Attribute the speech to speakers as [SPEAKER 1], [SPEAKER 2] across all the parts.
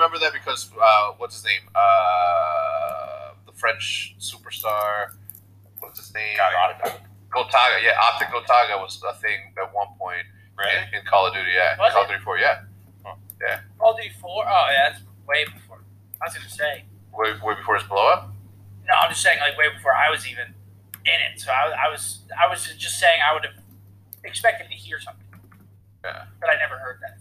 [SPEAKER 1] remember that because uh, what's his name? Uh, the French superstar. What's his name?
[SPEAKER 2] Gotaga.
[SPEAKER 1] Gotaga. Yeah, Optic Gotaga was a thing at one point
[SPEAKER 2] Really?
[SPEAKER 1] in, in Call of Duty. Yeah,
[SPEAKER 3] Was
[SPEAKER 1] Call
[SPEAKER 3] it?
[SPEAKER 1] of Duty Four. Yeah,
[SPEAKER 3] Call of Duty 4? Oh, yeah, that's way before. I was going to say.
[SPEAKER 1] way, way before his blow up.
[SPEAKER 3] No, I'm just saying, like, way before I was even in it. So I, I was I was just saying I would have expected to hear something.
[SPEAKER 1] Yeah.
[SPEAKER 3] But I never heard that.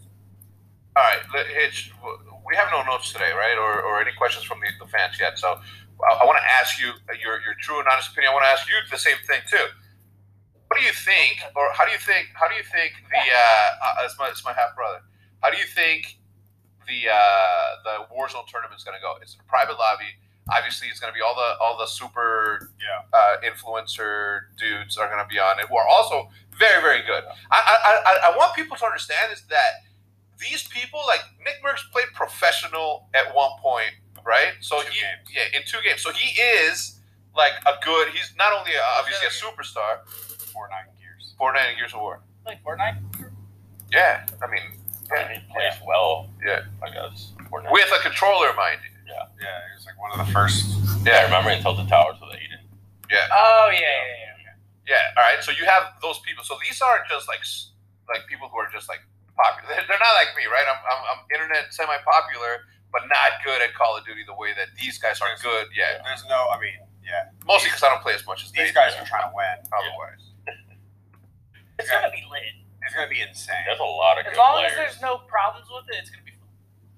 [SPEAKER 1] All right, let- Hitch. w- We have no notes today, right? Or, or any questions from the, the fans yet? So I, I want to ask you uh, your your true and honest opinion. I want to ask you the same thing too. What do you think, or how do you think? How do you think the uh, uh, it's my it's my half brother. How do you think the uh, the Warzone tournament's going to go? It's in a private lobby. Obviously, it's going to be all the all the super
[SPEAKER 2] Yeah.
[SPEAKER 1] uh, influencer dudes are going to be on it, who are also very very good. I I, I I want people to understand is that these people like Nick Merckx played professional at one point, right? So
[SPEAKER 2] Two
[SPEAKER 1] he
[SPEAKER 2] games.
[SPEAKER 1] yeah in two games. So he is like a good. He's not only a, obviously a superstar.
[SPEAKER 2] Fortnite Gears.
[SPEAKER 1] Fortnite and Gears of War.
[SPEAKER 3] Like, Fortnite?
[SPEAKER 1] Yeah, I mean
[SPEAKER 4] And he plays well.
[SPEAKER 1] Yeah.
[SPEAKER 4] I
[SPEAKER 3] uh,
[SPEAKER 4] guess. Fortnite.
[SPEAKER 1] with a controller, mind you.
[SPEAKER 2] Yeah, it was like one of the first.
[SPEAKER 4] yeah, I remember until the tower so that he didn't.
[SPEAKER 3] Oh, yeah, yeah, yeah. yeah.
[SPEAKER 1] Yeah, all right. So you have those people. So these aren't just like s- like people who are just like popular. They're, they're not like me, right? I'm, I'm, I'm internet semi popular, but not good at Call of Duty the way that these guys are good. Yeah,
[SPEAKER 2] There's no. I mean, yeah.
[SPEAKER 1] mostly because I don't play as much as they
[SPEAKER 2] These guys
[SPEAKER 1] do,
[SPEAKER 2] are trying to win.
[SPEAKER 1] Otherwise,
[SPEAKER 3] It's
[SPEAKER 2] Yeah.
[SPEAKER 3] going to be lit.
[SPEAKER 2] It's gonna be insane.
[SPEAKER 4] There's a lot of
[SPEAKER 3] As
[SPEAKER 4] good
[SPEAKER 3] long as
[SPEAKER 4] players.
[SPEAKER 3] there's no problems with it, it's going to be fun.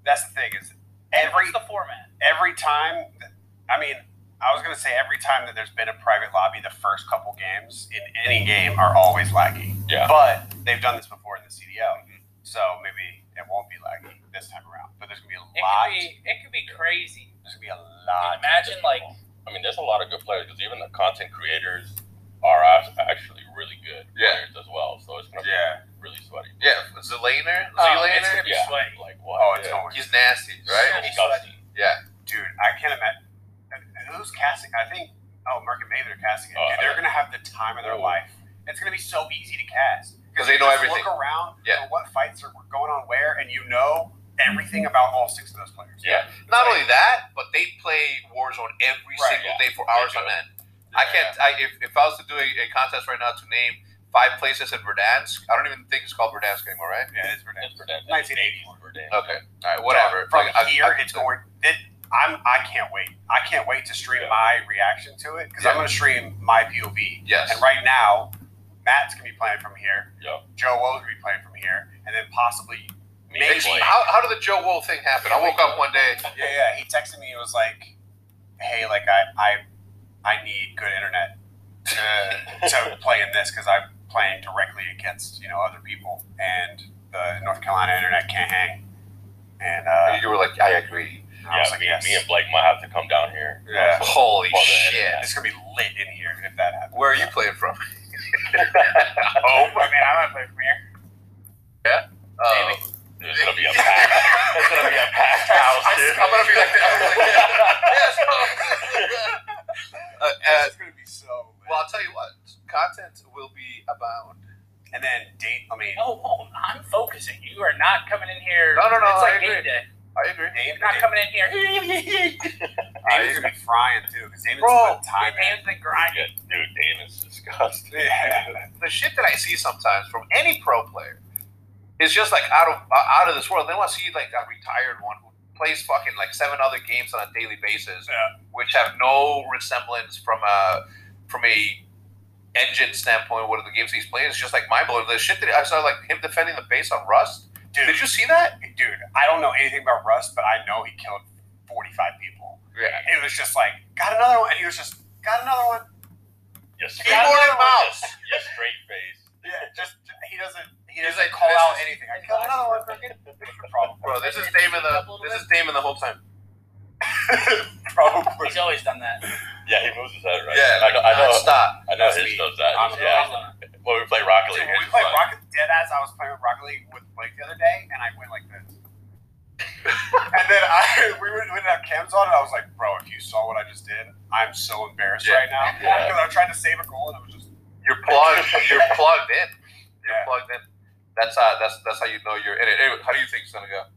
[SPEAKER 2] That's the thing is
[SPEAKER 3] Every,
[SPEAKER 2] every
[SPEAKER 3] What's the format?
[SPEAKER 2] every time. that- I mean, I was gonna say every time that there's been a private lobby, the first couple games in any game are always laggy.
[SPEAKER 4] Yeah. Mm-hmm.
[SPEAKER 2] But they've done this before in the CDL, so maybe it won't be laggy this time around. But there's gonna be
[SPEAKER 3] It
[SPEAKER 2] a lot.
[SPEAKER 3] could be, it could be crazy.
[SPEAKER 2] there's gonna be a lot.
[SPEAKER 3] Imagine, like,
[SPEAKER 4] I mean, there's a lot of good players because even the content creators are act- actually really good
[SPEAKER 1] Yeah.
[SPEAKER 4] players as well. So it's gonna
[SPEAKER 2] Yeah.
[SPEAKER 4] be really sweaty.
[SPEAKER 1] yeah. Zelaner,
[SPEAKER 3] Oh,
[SPEAKER 1] Zelaner,
[SPEAKER 3] it's gonna be
[SPEAKER 4] Yeah.
[SPEAKER 3] sweaty.
[SPEAKER 4] Like what?
[SPEAKER 2] Oh, it's
[SPEAKER 4] yeah.
[SPEAKER 2] going.
[SPEAKER 1] he's nasty, right?
[SPEAKER 3] Yeah.
[SPEAKER 4] disgusting.
[SPEAKER 1] Yeah,
[SPEAKER 2] dude, I can't imagine. Who's casting? I think. Oh, Merck and Maven are casting it.
[SPEAKER 4] Oh,
[SPEAKER 2] Dude,
[SPEAKER 1] Uh,
[SPEAKER 2] they're
[SPEAKER 4] yeah.
[SPEAKER 2] gonna have the time of their
[SPEAKER 4] Ooh.
[SPEAKER 2] life. It's gonna be so easy to cast
[SPEAKER 1] 'Cause they
[SPEAKER 2] you
[SPEAKER 1] know
[SPEAKER 2] just
[SPEAKER 1] everything.
[SPEAKER 2] Look around.
[SPEAKER 1] Yeah.
[SPEAKER 2] know What fights are going on where, and you know everything about all six of those players.
[SPEAKER 4] Yeah.
[SPEAKER 1] not only that, but they play Warzone every
[SPEAKER 2] Right,
[SPEAKER 1] single
[SPEAKER 4] yeah.
[SPEAKER 1] day for hours
[SPEAKER 4] They
[SPEAKER 1] on
[SPEAKER 4] do.
[SPEAKER 1] end. I can't. I, if, if I was to do a, a contest right now to name five places in Verdansk, I don't even think it's called Verdansk anymore, right?
[SPEAKER 2] Yeah, it's
[SPEAKER 4] It's
[SPEAKER 2] ridiculous.
[SPEAKER 4] for that.
[SPEAKER 2] 1980s.
[SPEAKER 4] For that.
[SPEAKER 1] Okay. All right. Whatever.
[SPEAKER 2] From
[SPEAKER 1] Like, I-
[SPEAKER 2] here,
[SPEAKER 1] I-
[SPEAKER 2] it's going. It, I'm. I can't wait. I can't wait to stream
[SPEAKER 4] Yeah.
[SPEAKER 2] my reaction to it because
[SPEAKER 1] Yeah.
[SPEAKER 2] I'm gonna stream my POV.
[SPEAKER 1] Yes.
[SPEAKER 2] And right now, Matt's gonna be playing from here.
[SPEAKER 4] Yeah.
[SPEAKER 2] Joe Woe's gonna be playing from here, and then possibly
[SPEAKER 4] Me
[SPEAKER 2] Maybe.
[SPEAKER 4] playing.
[SPEAKER 1] How, how did the Joe Wool thing happen? I woke up one day.
[SPEAKER 2] Yeah, yeah. He texted me. He was like, "Hey, like I, I, I need good internet to to play in this because I'm playing directly against you know other people, and the North Carolina internet can't hang." And uh,
[SPEAKER 1] You were like, I agree.
[SPEAKER 2] I
[SPEAKER 4] Yeah,
[SPEAKER 2] was like,
[SPEAKER 4] me,
[SPEAKER 2] "Yes,
[SPEAKER 4] me and Blake might have to come down here.
[SPEAKER 2] Yeah.
[SPEAKER 1] Holy
[SPEAKER 4] Well, then-
[SPEAKER 1] shit.
[SPEAKER 2] it's gonna be lit in here if that happens."
[SPEAKER 1] Where are you playing from?
[SPEAKER 3] Oh, I mean, I'm not playing from here.
[SPEAKER 1] Uh,
[SPEAKER 4] It's gonna be a pack. it's gonna be a packed house, dude.
[SPEAKER 1] I'm gonna be like, I'm gonna be like yes. uh, uh,
[SPEAKER 2] It's gonna be so. Lit.
[SPEAKER 1] well, I'll tell you what. Content will be abound.
[SPEAKER 2] and then date. I mean,
[SPEAKER 3] Oh, oh, I'm focusing. You are not coming in here.
[SPEAKER 1] No, no, no, I
[SPEAKER 3] It's like
[SPEAKER 1] agree.
[SPEAKER 3] game day.
[SPEAKER 1] I agree.
[SPEAKER 2] Dave,
[SPEAKER 3] You're not
[SPEAKER 2] Dave-
[SPEAKER 3] coming in here.
[SPEAKER 2] David's gonna be frying too because David's
[SPEAKER 1] Bro.
[SPEAKER 2] put time in.
[SPEAKER 3] Hands and grinding.
[SPEAKER 4] Yeah, dude, Damon's disgusting.
[SPEAKER 2] Yeah.
[SPEAKER 1] the shit that I see sometimes from any pro player is just like out of uh, out of this world. Then I see like a retired one who plays fucking like seven other games on a daily basis,
[SPEAKER 2] Yeah.
[SPEAKER 1] which have no resemblance from a from a engine standpoint. What are the games he's playing? It's just like mind blowing. The shit that I saw, like him defending the base on Rust.
[SPEAKER 2] Dude,
[SPEAKER 1] Did you see that?
[SPEAKER 2] dude, I don't know anything about Rust, but I know he killed 45 people.
[SPEAKER 1] Yeah.
[SPEAKER 2] It was just like, got another one. And he was just, got another one.
[SPEAKER 4] Yes,
[SPEAKER 1] Keyboard and mouse.
[SPEAKER 4] Yes, straight face.
[SPEAKER 2] Yeah, just, he doesn't, he
[SPEAKER 1] He's
[SPEAKER 2] doesn't
[SPEAKER 1] like,
[SPEAKER 2] call
[SPEAKER 1] this
[SPEAKER 2] out
[SPEAKER 1] is-
[SPEAKER 2] anything. I killed another one. freaking- Probably.
[SPEAKER 1] Bro, this is Damon the this is Damon the whole time.
[SPEAKER 2] Probably.
[SPEAKER 3] He's always done that.
[SPEAKER 4] Yeah, he moves his head right.
[SPEAKER 1] Yeah,
[SPEAKER 4] I know. I know.
[SPEAKER 1] stop.
[SPEAKER 4] I know
[SPEAKER 2] That's me.
[SPEAKER 4] his does that.
[SPEAKER 2] I'm-
[SPEAKER 4] yeah. When we play Rocket
[SPEAKER 2] Dude,
[SPEAKER 4] League,
[SPEAKER 2] when we
[SPEAKER 4] it's
[SPEAKER 2] played
[SPEAKER 4] fun.
[SPEAKER 2] Rocket, dead ass, I was playing Rocket League with Blake the other day, and I went like this. and then I, we were, we didn't have cams on, and I was like, bro, if you saw what I just did, I'm so embarrassed
[SPEAKER 1] Yeah.
[SPEAKER 2] right now.
[SPEAKER 4] Yeah.
[SPEAKER 2] Because I tried to save a goal, and I was just,
[SPEAKER 1] You're plugged. you're plugged in. You're
[SPEAKER 2] Yeah.
[SPEAKER 1] plugged in. That's how. That's that's how you know you're in it. Anyway, how do you think it's gonna go?